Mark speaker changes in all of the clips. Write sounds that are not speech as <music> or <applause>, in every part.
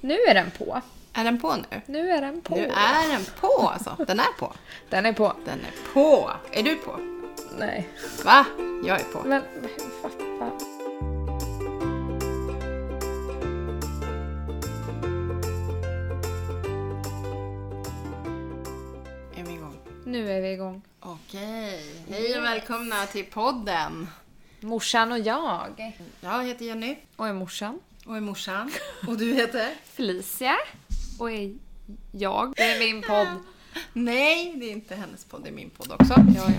Speaker 1: Nu är den på.
Speaker 2: Är den på nu?
Speaker 1: Nu är den på.
Speaker 2: Nu är den på alltså. Den är på.
Speaker 1: Den är på.
Speaker 2: Den är på. Är du på?
Speaker 1: Nej.
Speaker 2: Va? Jag är på.
Speaker 1: Men vad fan.
Speaker 2: Är vi igång?
Speaker 1: Nu är vi igång.
Speaker 2: Okej. Hej och välkomna till podden.
Speaker 1: Morsan och jag.
Speaker 2: Jag heter Jenny.
Speaker 1: Och är morsan?
Speaker 2: Och är morsan. <laughs> Och du heter?
Speaker 1: Felicia. Och är jag. Det är min podd.
Speaker 2: Nej, det är inte hennes podd. Det är min podd också.
Speaker 1: Ja, ja.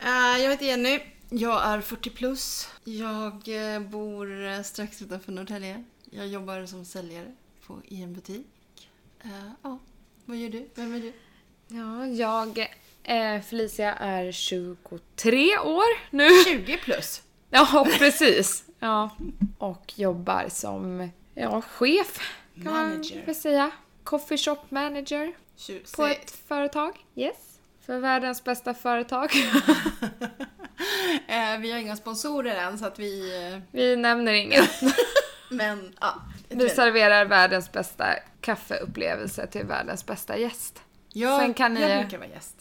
Speaker 2: Eh, jag heter Jenny. Jag är 40 plus. Jag eh, bor eh, strax utanför Norrtälje. Jag jobbar som säljare på, i en butik. Eh, Ja, vad gör du? Vem är du?
Speaker 1: ja jag, eh, Felicia är 23 år nu.
Speaker 2: 20 plus.
Speaker 1: Ja, precis. Ja. Och jobbar som ja, chef, kan
Speaker 2: Manager.
Speaker 1: man väl säga. Coffee shop manager på ett
Speaker 2: Tjusigt.
Speaker 1: företag. Yes. För världens bästa företag.
Speaker 2: Eh, vi har inga sponsorer än så att vi... eh,
Speaker 1: Vi nämner <laughs> inget.
Speaker 2: Men ja.
Speaker 1: Vi serverar världens bästa kaffeupplevelse till världens bästa gäst.
Speaker 2: jag,
Speaker 1: sen kan ni-
Speaker 2: jag brukar vara gäst.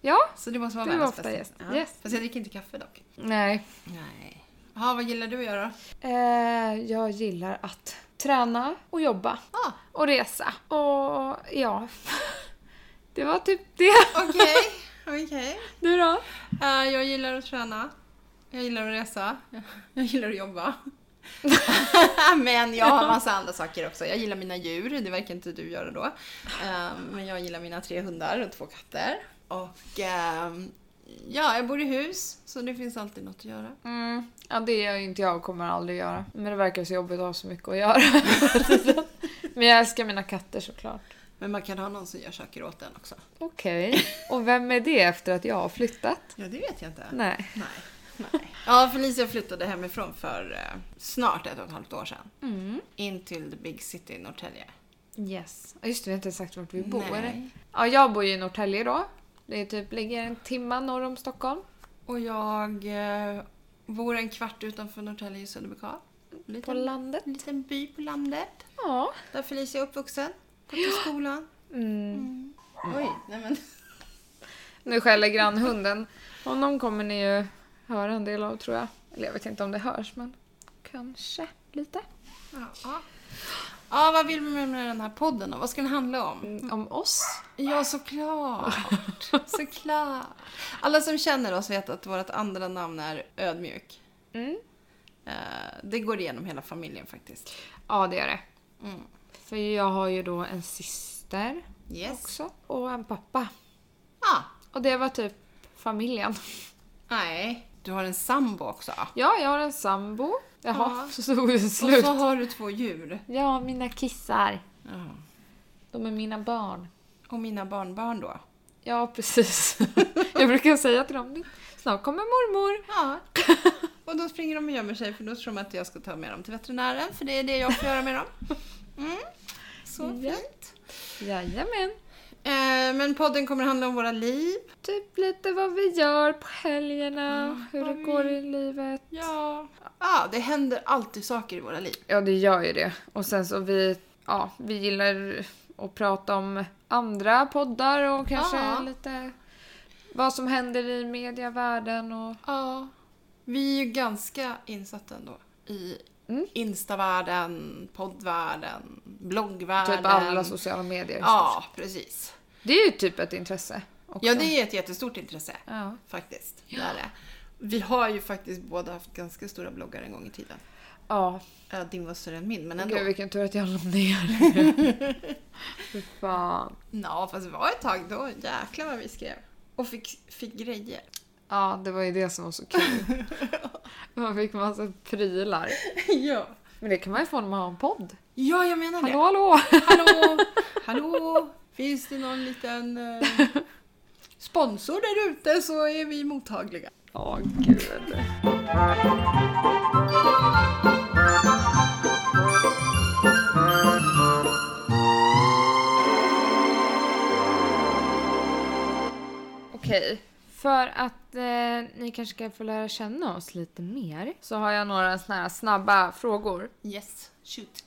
Speaker 1: Ja,
Speaker 2: Så det måste vara
Speaker 1: Du
Speaker 2: världens
Speaker 1: är ofta
Speaker 2: bästa.
Speaker 1: gäst.
Speaker 2: Ja.
Speaker 1: Yes.
Speaker 2: Fast jag dricker inte kaffe dock.
Speaker 1: nej.
Speaker 2: Nej. Jaha, vad gillar du
Speaker 1: <laughs>
Speaker 2: att göra?
Speaker 1: Eh, jag gillar att träna och jobba
Speaker 2: Ah,
Speaker 1: och resa. Och ja, <laughs> det var typ det. <laughs>
Speaker 2: Okej, okej.
Speaker 1: Du då?
Speaker 2: Eh, jag gillar att träna. Jag gillar att resa. <laughs> Jag gillar att jobba.
Speaker 1: <laughs>
Speaker 2: men jag har massa andra saker också. Jag gillar mina djur, det verkar inte du göra då. Eh, men jag gillar mina tre hundar och två katter. Och ehm, ja, jag bor i hus så det finns alltid något att göra.
Speaker 1: Mm, ja, det gör ju inte jag och kommer aldrig göra. Men det verkar så jobbigt att ha så mycket att göra. <laughs> Men jag älskar mina katter såklart.
Speaker 2: Men man kan ha någon som gör saker åt en också.
Speaker 1: Okej, och vem är det efter att jag har flyttat?
Speaker 2: Ja, det vet jag inte.
Speaker 1: Nej.
Speaker 2: Nej. Mm. Nej. Ja, Felicia flyttade hemifrån för eh, snart ett och ett halvt år sedan.
Speaker 1: Mm.
Speaker 2: In till the big city i Norrtälje.
Speaker 1: Yes. Ja, Just det, vi har inte sagt vart vi bor.
Speaker 2: Nej.
Speaker 1: Ja, jag bor ju i Norrtälje då. Det är typ, ligger en timma norr om Stockholm.
Speaker 2: Och jag eh, bor en kvart utanför Norrtälje i Söderbykar. En
Speaker 1: På
Speaker 2: liten,
Speaker 1: landet.
Speaker 2: en liten by på landet.
Speaker 1: Ja.
Speaker 2: Där Felicia är uppvuxen. Gått i skolan.
Speaker 1: Mm.
Speaker 2: Oj, nej men.
Speaker 1: Nu skäller grannhunden. Honom kommer ni ju höra en del av tror jag. Eller jag vet inte om det hörs, men kanske lite.
Speaker 2: Ja, ja. ja, vad vill vi med den här podden då? Vad ska den handla om?
Speaker 1: Om oss. <laughs>
Speaker 2: Ja, såklart. såklart. Alla som känner oss vet att vårt andra namn är Ödmjuk.
Speaker 1: Mm.
Speaker 2: Eh, det går igenom hela familjen faktiskt.
Speaker 1: Ja, det gör det.
Speaker 2: Mm.
Speaker 1: För jag har ju då en syster
Speaker 2: Yes.
Speaker 1: också och en pappa.
Speaker 2: Ah,
Speaker 1: Och det var typ familjen.
Speaker 2: nej. Du har en sambo också.
Speaker 1: Ja, jag har en sambo. Jaha,
Speaker 2: Ja.
Speaker 1: så tog det
Speaker 2: Och
Speaker 1: slut.
Speaker 2: så har du två djur.
Speaker 1: Ja, mina kissar.
Speaker 2: Ja.
Speaker 1: De är mina barn.
Speaker 2: Och mina barnbarn då?
Speaker 1: Ja, precis. <laughs> Jag brukar säga till dem, snart kommer mormor.
Speaker 2: Ja. <laughs> Och då springer de och gömmer sig för då tror de att jag ska ta med dem till veterinären för det är det jag får göra med dem. Mm. Så
Speaker 1: Ja.
Speaker 2: fint.
Speaker 1: Jajamän.
Speaker 2: Eh, men podden kommer handla om våra liv.
Speaker 1: Typ lite vad vi gör på helgerna, hur
Speaker 2: vad
Speaker 1: det
Speaker 2: vi-
Speaker 1: går i livet.
Speaker 2: Ja. Ja, det händer alltid saker i våra liv.
Speaker 1: Ja, det gör ju det. Och sen så vi, ja, vi gillar att prata om andra poddar och kanske
Speaker 2: Ja.
Speaker 1: lite vad som händer i medievärlden och...
Speaker 2: Ja. Vi är ju ganska insatta ändå i
Speaker 1: Mm.
Speaker 2: Instavärlden, poddvärlden, bloggvärlden.
Speaker 1: Typ alla sociala medier.
Speaker 2: Ja, precis.
Speaker 1: Det är ju typ ett intresse också.
Speaker 2: Ja, det är ett jättestort intresse.
Speaker 1: Ja.
Speaker 2: Faktiskt. Det är det. Vi har ju faktiskt båda haft ganska stora bloggar en gång i tiden.
Speaker 1: ja.
Speaker 2: Ja, din var större än min, men ändå.
Speaker 1: Gud, vilken tur att jag la ner
Speaker 2: <laughs>
Speaker 1: Fy fan.
Speaker 2: Ja, fast det var ett tag då. Jäklar vad vi skrev. Och fick, fick
Speaker 1: <laughs>
Speaker 2: grejer.
Speaker 1: Ja, det var ju det som var så
Speaker 2: <laughs>
Speaker 1: kul. Man fick massa prylar.
Speaker 2: ja.
Speaker 1: Men det kan man ju få när man har en podd.
Speaker 2: Ja, jag menar
Speaker 1: Hallå, hallå!
Speaker 2: det. Hallå! Hallå! Finns det någon liten eh, sponsor där ute så är vi mottagliga.
Speaker 1: Ja, gud. Okej, för att eh, ni kanske ska få lära känna oss lite mer så har jag några såna här snabba frågor.
Speaker 2: Yes, shoot.
Speaker 1: Eh,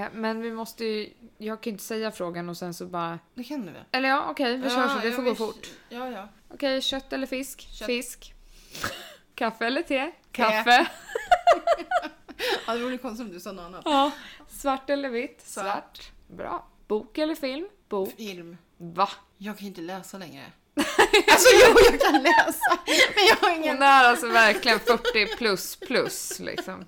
Speaker 1: Eh, men vi måste ju... Jag kan ju inte säga frågan och sen så bara...
Speaker 2: Det kan du väl?
Speaker 1: Eller ja, okej, vi kör
Speaker 2: Ja,
Speaker 1: så. Det
Speaker 2: ja,
Speaker 1: får gå
Speaker 2: vi-
Speaker 1: fort.
Speaker 2: Ja, ja.
Speaker 1: Okej, kött eller fisk?
Speaker 2: Kött.
Speaker 1: Fisk. <laughs> Kaffe eller te? Kaffe.
Speaker 2: ja det vore konstigt om du sa något annat.
Speaker 1: Ja. Svart eller vitt?
Speaker 2: Svart.
Speaker 1: Bra. Bok eller film? Bok.
Speaker 2: Film.
Speaker 1: Va?
Speaker 2: Jag kan ju inte läsa längre. <laughs> alltså jo, jag kan läsa. Men jag har ingen,
Speaker 1: Hon är alltså verkligen 40 plus plus liksom.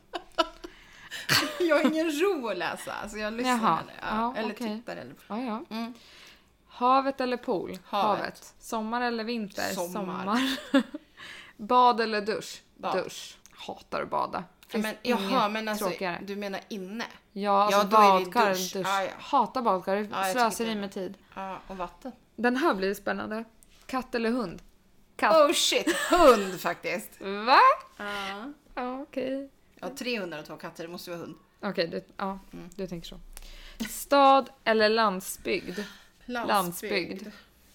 Speaker 2: jag har ingen ro att läsa. Alltså jag lyssnar
Speaker 1: Jaha.
Speaker 2: eller, ja,
Speaker 1: Ja,
Speaker 2: eller
Speaker 1: okej.
Speaker 2: tittar. Eller,
Speaker 1: Ja, ja.
Speaker 2: Mm.
Speaker 1: Havet eller pool?
Speaker 2: Havet.
Speaker 1: Sommar eller vinter?
Speaker 2: Sommar.
Speaker 1: <laughs> Bad eller dusch?
Speaker 2: Bad.
Speaker 1: Dusch. Hatar att bada.
Speaker 2: Ja,
Speaker 1: Finns
Speaker 2: men,
Speaker 1: inget
Speaker 2: jaha, men alltså
Speaker 1: tråkigare.
Speaker 2: du menar inne?
Speaker 1: Ja, alltså
Speaker 2: Ja, då är det
Speaker 1: badkar. Dusch.
Speaker 2: dusch. Ah, ja.
Speaker 1: Hatar badkar. Det
Speaker 2: Ja, jag
Speaker 1: slösar
Speaker 2: tycker
Speaker 1: i
Speaker 2: det.
Speaker 1: med tid.
Speaker 2: Ja, och vatten.
Speaker 1: Den här blir spännande. Katt eller hund? Katt.
Speaker 2: Oh shit, hund faktiskt.
Speaker 1: Va?
Speaker 2: Oh. Ja.
Speaker 1: Ja, okej.
Speaker 2: Jag har tre hundar och två katter, det måste ju vara hund.
Speaker 1: Okej, du, ja, du tänker så. Stad eller landsbygd? Landsbygd.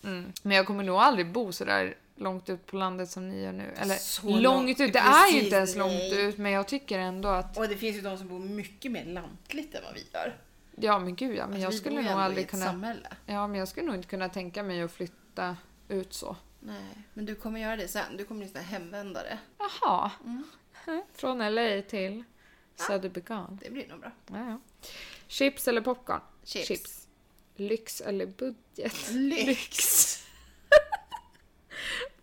Speaker 1: Mm. Men jag kommer nog aldrig bo så där långt ut på landet som ni gör nu. Eller
Speaker 2: Så
Speaker 1: långt,
Speaker 2: långt-
Speaker 1: ut, det är
Speaker 2: precis,
Speaker 1: ju inte ens
Speaker 2: nej.
Speaker 1: långt ut men jag tycker ändå att
Speaker 2: Och det finns ju de som bor mycket mer lantligt än vad vi gör. Alltså,
Speaker 1: ja men gud ja, men jag
Speaker 2: vi bor
Speaker 1: skulle
Speaker 2: ju
Speaker 1: nog
Speaker 2: ändå i
Speaker 1: aldrig
Speaker 2: ett
Speaker 1: kunna
Speaker 2: samhälle.
Speaker 1: ja, men jag skulle nog inte kunna tänka mig att flytta ut så.
Speaker 2: Nej, men du kommer göra det sen. Du kommer bli sån här hemvändare.
Speaker 1: Jaha. Hm. Från LA till Söderbygarn.
Speaker 2: Det blir nog bra.
Speaker 1: Ah. Ja, ja. Chips eller popcorn?
Speaker 2: Chips.
Speaker 1: Lyx eller budget?
Speaker 2: Lyx.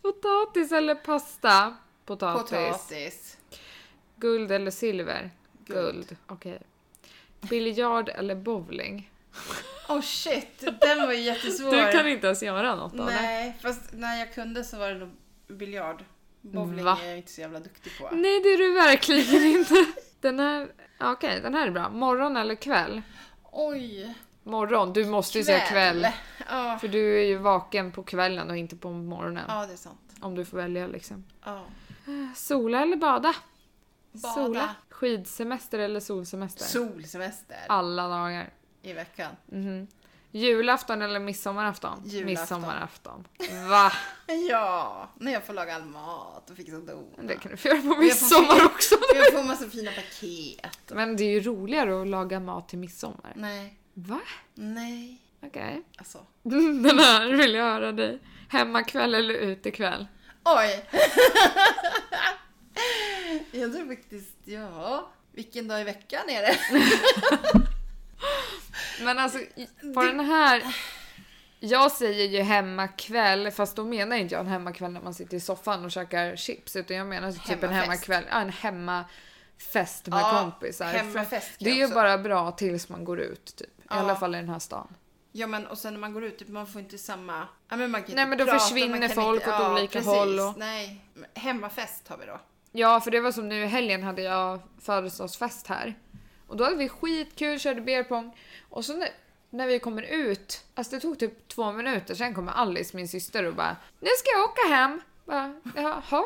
Speaker 1: Potatis eller pasta? Potatis.
Speaker 2: Potatis.
Speaker 1: Guld eller silver?
Speaker 2: Guld.
Speaker 1: Okej. Biljard eller bowling?
Speaker 2: Oh shit, den var ju jättesvår.
Speaker 1: Du kan inte ens göra något av det.
Speaker 2: Nej, fast när jag kunde så var det nog biljard. Bowling
Speaker 1: Va? Mm.
Speaker 2: är jag inte så jävla duktig på.
Speaker 1: Nej, det är du verkligen inte. Den här, ja, okej, den här är bra. Morgon eller kväll?
Speaker 2: Oj.
Speaker 1: Morgon, du måste ju säga kväll.
Speaker 2: Ja.
Speaker 1: För du är ju vaken på kvällen och inte på morgonen.
Speaker 2: ja, det är sant.
Speaker 1: Om du får välja liksom.
Speaker 2: Ja.
Speaker 1: Sola eller bada?
Speaker 2: Bada.
Speaker 1: Sola. Skidsemester eller solsemester?
Speaker 2: Solsemester
Speaker 1: Alla dagar.
Speaker 2: i veckan.
Speaker 1: Mhm. Julafton eller midsommarafton?
Speaker 2: Julafton.
Speaker 1: Midsommarafton. Va?
Speaker 2: Ja, när jag får laga all mat och fixa don.
Speaker 1: Det kan du få
Speaker 2: <laughs>
Speaker 1: göra på midsommar också.
Speaker 2: Jag får massa fina paket.
Speaker 1: Men det är ju roligare att laga mat till midsommar.
Speaker 2: Nej,
Speaker 1: Va?
Speaker 2: nej.
Speaker 1: Okej. <laughs>
Speaker 2: Alltså.
Speaker 1: Den här vill jag höra dig. Hemmakväll eller utekväll?
Speaker 2: Oj! <laughs> jag tror faktiskt, ja. Vilken dag i veckan är det?
Speaker 1: Men alltså, i- på den här... Jag säger ju hemmakväll, fast då menar inte jag en hemmakväll när man sitter i soffan och käkar chips, utan jag menar typ en
Speaker 2: Hemmafest.
Speaker 1: hemmakväll, ja, en hemmafest med
Speaker 2: Ja,
Speaker 1: kompisar.
Speaker 2: hemmafest kan
Speaker 1: Det är
Speaker 2: jag
Speaker 1: ju
Speaker 2: också.
Speaker 1: bara bra tills man går ut, typ. I
Speaker 2: Ja.
Speaker 1: alla fall i den här stan.
Speaker 2: Ja men och sen när man går ut, typ, man får inte samma... Ja, men man kan
Speaker 1: Nej,
Speaker 2: inte
Speaker 1: men då
Speaker 2: prata,
Speaker 1: försvinner
Speaker 2: man kan
Speaker 1: folk åt olika håll och-
Speaker 2: Nej, hemmafest har vi då.
Speaker 1: Ja, för det var som nu i helgen hade jag födelsedagsfest här. Och då hade vi skitkul, körde beer pong. Och så när, när vi kommer ut, alltså det tog typ två minuter, sen kommer Alice, min syster, och bara Nu ska jag åka hem! Bara, Jaha?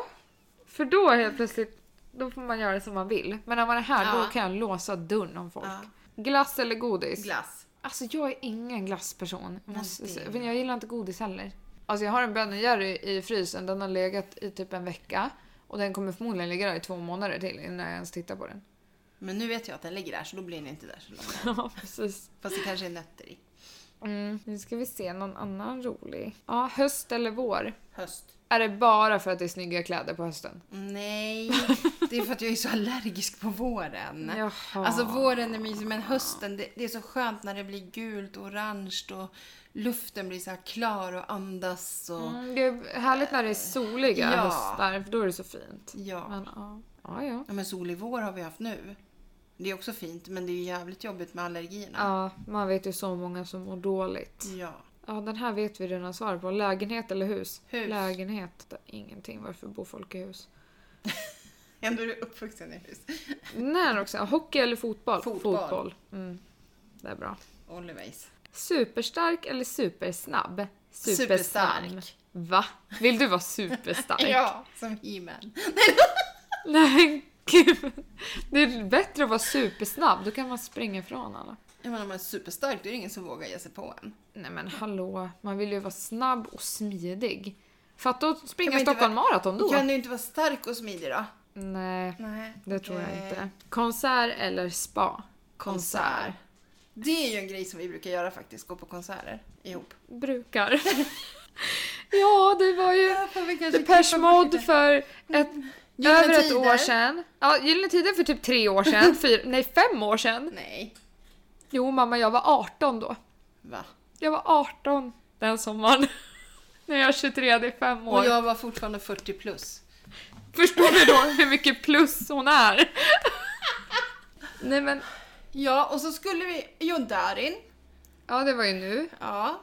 Speaker 1: För då helt plötsligt, då får man göra som man vill. Men när man är här,
Speaker 2: Ja.
Speaker 1: då kan jag låsa dörren om folk.
Speaker 2: Ja.
Speaker 1: Glass eller godis?
Speaker 2: Glass.
Speaker 1: Alltså jag är ingen glassperson. Jag, måste
Speaker 2: det-
Speaker 1: säga. Men jag gillar inte godis heller. Alltså jag har en bönöjerry i frysen. Den har legat i typ en vecka. Och den kommer förmodligen ligga där i två månader till innan jag ens tittar
Speaker 2: <laughs>
Speaker 1: på den.
Speaker 2: Men nu vet jag att den ligger där så då blir den inte där så länge.
Speaker 1: Ja, precis.
Speaker 2: Fast det kanske är nötter i.
Speaker 1: Mm. Nu ska vi se någon annan rolig. Ja, höst eller vår?
Speaker 2: Höst.
Speaker 1: Är det bara för att det är snygga kläder på hösten? <laughs>
Speaker 2: Nej, det är för att jag är så allergisk på våren.
Speaker 1: Jaha.
Speaker 2: Alltså våren är mysig men hösten det, det är så skönt när det blir gult och orange och luften blir så här klar och andas och
Speaker 1: Mm, det är härligt när det är soliga
Speaker 2: Ja.
Speaker 1: höstar, för då är det så fint.
Speaker 2: ja.
Speaker 1: Men ja. Ja, ja.
Speaker 2: ja. Men solig vår har vi haft nu. Det är också fint men det är ju jävligt jobbigt med allergierna.
Speaker 1: Ja, man vet ju så många som mår dåligt.
Speaker 2: Ja.
Speaker 1: Ja, den här vet vi redan svaret på. Lägenhet eller hus?
Speaker 2: Hus.
Speaker 1: Lägenhet. Ingenting. Varför bor folk i hus?
Speaker 2: Ändå är du uppvuxen i hus.
Speaker 1: När också? Hockey eller fotboll?
Speaker 2: Fotboll.
Speaker 1: Mm. Det är bra.
Speaker 2: Always.
Speaker 1: Superstark eller supersnabb?
Speaker 2: Superstark.
Speaker 1: Superstark. Va? Vill du vara superstark?
Speaker 2: <laughs> Ja, som He-Man.
Speaker 1: Nej, gud. Det är bättre att vara supersnabb. Då kan man springa ifrån alla.
Speaker 2: Jag menar om man är superstark då är det ingen som vågar ge sig på en.
Speaker 1: Nej men hallå, man vill ju vara snabb och smidig. Fatta att
Speaker 2: Kan
Speaker 1: springa
Speaker 2: man inte
Speaker 1: Stockholm Marathon då?
Speaker 2: Kan du inte vara stark och smidig då?
Speaker 1: Nej.
Speaker 2: Nej. Eh,
Speaker 1: Det tror jag
Speaker 2: Nej.
Speaker 1: inte. Konsert eller Eh, spa?
Speaker 2: Konsert. Det är ju en grej som vi brukar göra faktiskt, gå på konserter ihop.
Speaker 1: Brukar. <laughs> ja, det var ju
Speaker 2: vi
Speaker 1: Depeche Mode för ett,
Speaker 2: Mm. Gyllene
Speaker 1: över ett
Speaker 2: Tider.
Speaker 1: år sedan. Ja, Gyllene Tider för typ tre år
Speaker 2: <laughs>
Speaker 1: sedan. Fyra, nej, fem år sedan.
Speaker 2: Nej,
Speaker 1: Jo, mamma, jag var 18 då.
Speaker 2: va?
Speaker 1: Jag var 18 den sommaren. <laughs> När jag är 23, det är fem år.
Speaker 2: Och jag var fortfarande 40 plus.
Speaker 1: Förstår du då hur mycket plus hon är? <laughs> nej men,
Speaker 2: Ja, och så skulle vi... Jo, Darin.
Speaker 1: ja det var ju nu.
Speaker 2: Ja.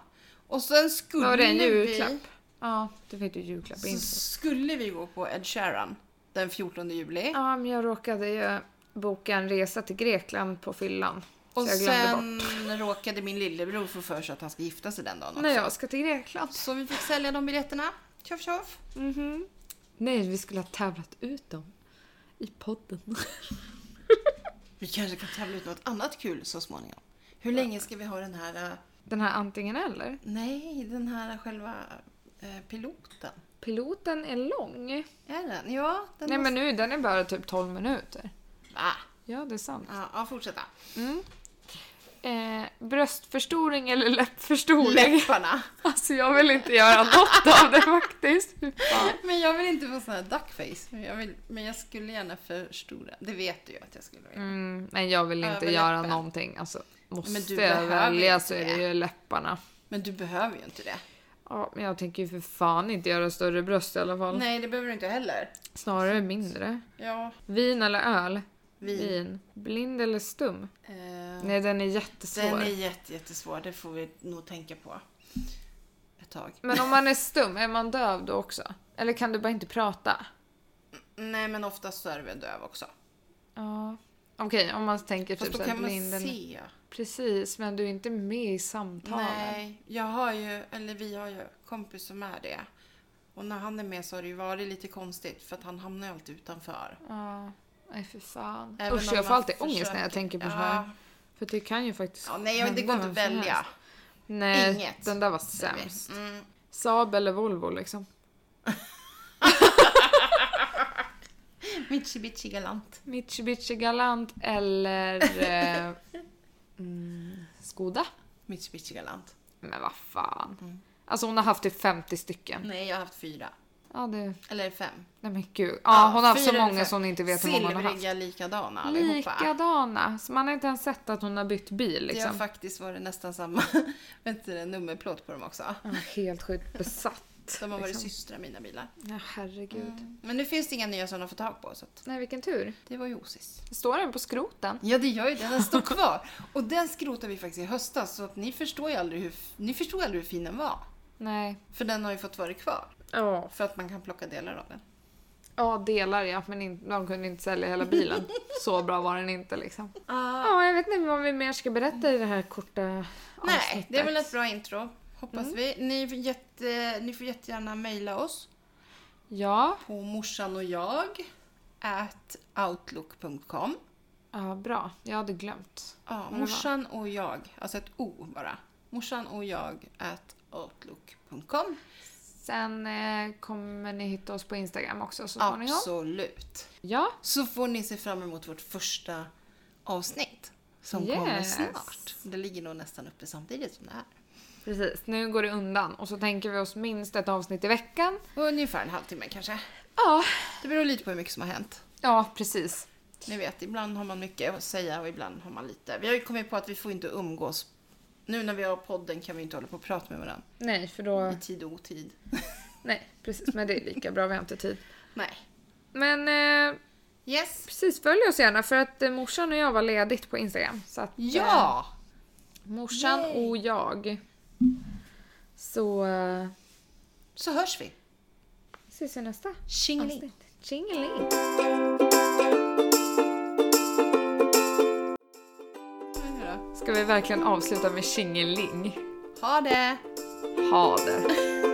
Speaker 2: Och sen skulle
Speaker 1: Var det en
Speaker 2: vi...
Speaker 1: julklapp? Ja, det fick du julklapp
Speaker 2: Så
Speaker 1: inte.
Speaker 2: skulle vi gå på Ed Sheeran den 14 juli.
Speaker 1: Ja, men jag råkade ju boka en resa till Grekland på fyllan.
Speaker 2: och
Speaker 1: så jag glömde <laughs>
Speaker 2: sen råkade min lillebror få för sig att han ska gifta sig den dagen också.
Speaker 1: När jag ska till Grekland.
Speaker 2: Så vi fick sälja de biljetterna. Tjoff tjoff.
Speaker 1: Nej, vi skulle ha tävlat ut dem. I
Speaker 2: <laughs>
Speaker 1: podden.
Speaker 2: Vi kanske kan tävla ut något annat kul så småningom. Hur länge ska vi ha den här... eh,
Speaker 1: Den här antingen eller.
Speaker 2: Nej, den här själva eh, piloten.
Speaker 1: Piloten är lång.
Speaker 2: Är den? Ja, den
Speaker 1: Nej men nu, den är bara typ 12 minuter.
Speaker 2: måste... Ah. Va?
Speaker 1: Ja, det är sant.
Speaker 2: Ja, ja, fortsätta.
Speaker 1: Mm. Eh, bröstförstoring eller läppförstoring?
Speaker 2: Läpparna.
Speaker 1: <laughs> Alltså jag vill inte göra något av det faktiskt. Fy fan.
Speaker 2: <laughs> Men jag vill inte få sån här duckface. Men jag, vill, men jag skulle gärna förstora. Det vet du ju att jag skulle vilja.
Speaker 1: Mm, men jag vill inte
Speaker 2: Överläppen.
Speaker 1: göra någonting. Alltså, måste
Speaker 2: Men du
Speaker 1: jag
Speaker 2: behöver
Speaker 1: välja
Speaker 2: inte
Speaker 1: så är det
Speaker 2: det.
Speaker 1: ju läpparna.
Speaker 2: Men du behöver ju inte det.
Speaker 1: Ja, men jag tänker ju för fan inte göra större bröst i alla fall.
Speaker 2: Nej, det behöver du inte heller.
Speaker 1: Snarare mindre.
Speaker 2: Ja.
Speaker 1: Vin eller öl?
Speaker 2: Vin.
Speaker 1: Blind eller stum?
Speaker 2: Eh,
Speaker 1: Nej, den är jättesvår.
Speaker 2: den är jätte, jättesvår. Det får vi nog tänka på ett tag.
Speaker 1: Men om man är stum, är man döv då också? Eller kan du bara inte prata?
Speaker 2: Nej, men oftast så är du väl döv också.
Speaker 1: Ja. Okej, om man tänker
Speaker 2: Fast
Speaker 1: typ
Speaker 2: då
Speaker 1: såhär
Speaker 2: kan man
Speaker 1: blinden.
Speaker 2: se.
Speaker 1: Precis, men du är inte med i samtalen.
Speaker 2: Nej, jag har ju, eller vi har ju kompis som är det. Och när han är med så har det ju varit lite konstigt för att han hamnar ju alltid utanför.
Speaker 1: Ja. Nej, för fan.
Speaker 2: Även
Speaker 1: Usch,
Speaker 2: om
Speaker 1: jag får
Speaker 2: man
Speaker 1: alltid ångest när jag
Speaker 2: försöker.
Speaker 1: tänker på
Speaker 2: ja.
Speaker 1: det här. För det kan ju faktiskt
Speaker 2: Ja, nej, jag- det går
Speaker 1: hända
Speaker 2: inte att
Speaker 1: vem som
Speaker 2: välja.
Speaker 1: helst. Nej,
Speaker 2: Inget.
Speaker 1: den där var sämst.
Speaker 2: Mm.
Speaker 1: Saab eller Volvo liksom.
Speaker 2: Mitchi bitchi galant.
Speaker 1: Mitsubishi Galant eller eh, mm, Skoda.
Speaker 2: Mitchi bitchi galant.
Speaker 1: Men vad fan.
Speaker 2: Mm.
Speaker 1: Alltså hon har haft typ 50 stycken.
Speaker 2: Nej, jag har haft fyra.
Speaker 1: Ja, det...
Speaker 2: Eller fem.
Speaker 1: Nej men gud. Ja, hon har haft så
Speaker 2: fyra eller
Speaker 1: många
Speaker 2: fem.
Speaker 1: så hon inte vet hur många hon har haft.
Speaker 2: Silvriga likadana allihopa.
Speaker 1: Likadana. Så man har inte ens sett att hon har bytt bil
Speaker 2: Det har
Speaker 1: liksom.
Speaker 2: faktiskt varit nästan samma <laughs> vet inte det, nummerplåt på dem också.
Speaker 1: Ja, helt sjukt besatt.
Speaker 2: De har varit Mm.
Speaker 1: liksom.
Speaker 2: systrar, mina bilar.
Speaker 1: Ja, herregud.
Speaker 2: Men nu finns det inga nya sådana att få tag på, så att
Speaker 1: Nej, vilken tur.
Speaker 2: det var ju osis.
Speaker 1: Står den på skroten?
Speaker 2: Ja, det gör ju det. Den står kvar. Och den skrotade vi faktiskt i höstas, så att ni förstår ju aldrig hur, ni förstår aldrig hur fin den var.
Speaker 1: Nej.
Speaker 2: För den har ju fått vara kvar,
Speaker 1: Ja.
Speaker 2: för att man kan plocka delar av den.
Speaker 1: Ja, delar ja, men in, de kunde inte sälja hela
Speaker 2: <laughs>
Speaker 1: bilen. Så bra var den inte liksom.
Speaker 2: Ah.
Speaker 1: Ja, jag vet inte vad vi mer ska berätta i det här korta
Speaker 2: Nej,
Speaker 1: avsnittet. Mm.
Speaker 2: det är väl ett bra intro, hoppas vi. Ni får, jätte, ni får jättegärna mejla oss
Speaker 1: Ja,
Speaker 2: på morsan och jag at outlook.com.
Speaker 1: ja, bra. Jag hade glömt.
Speaker 2: Ja,
Speaker 1: det
Speaker 2: morsan och jag, alltså ett o bara. Morsan och jag at outlook.com.
Speaker 1: Sen eh, kommer ni hitta oss på Instagram också så småningom.
Speaker 2: Absolut.
Speaker 1: Ja,
Speaker 2: så får ni se fram emot vårt första avsnitt som
Speaker 1: Yes.
Speaker 2: kommer snart. Det ligger nog nästan uppe samtidigt som det här.
Speaker 1: precis. Nu går det undan och så tänker vi oss minst ett avsnitt i veckan.
Speaker 2: Ungefär en halvtimme kanske.
Speaker 1: Ja,
Speaker 2: Det beror lite på hur mycket som har hänt.
Speaker 1: ja precis.
Speaker 2: Ni vet, ibland har man mycket att säga och ibland har man lite. Vi har ju kommit på att vi får inte umgås. Nu när vi har podden kan vi inte hålla på och prata med varandra
Speaker 1: Nej, för då...
Speaker 2: i tid och otid.
Speaker 1: Nej, precis. Men det är lika bra, vi har inte tid.
Speaker 2: <laughs> Nej.
Speaker 1: Men eh,
Speaker 2: Yes.
Speaker 1: precis, följ oss gärna för att eh, morsan och jag var ledigt på Instagram. Så att, eh,
Speaker 2: Ja!
Speaker 1: Morsan
Speaker 2: Yay.
Speaker 1: och jag. Så eh,
Speaker 2: Så hörs vi.
Speaker 1: ses i nästa
Speaker 2: Tjingeling.
Speaker 1: avsnitt. Tjingeling! Ska vi verkligen avsluta med tjingeling?
Speaker 2: Ha det!
Speaker 1: Ha det!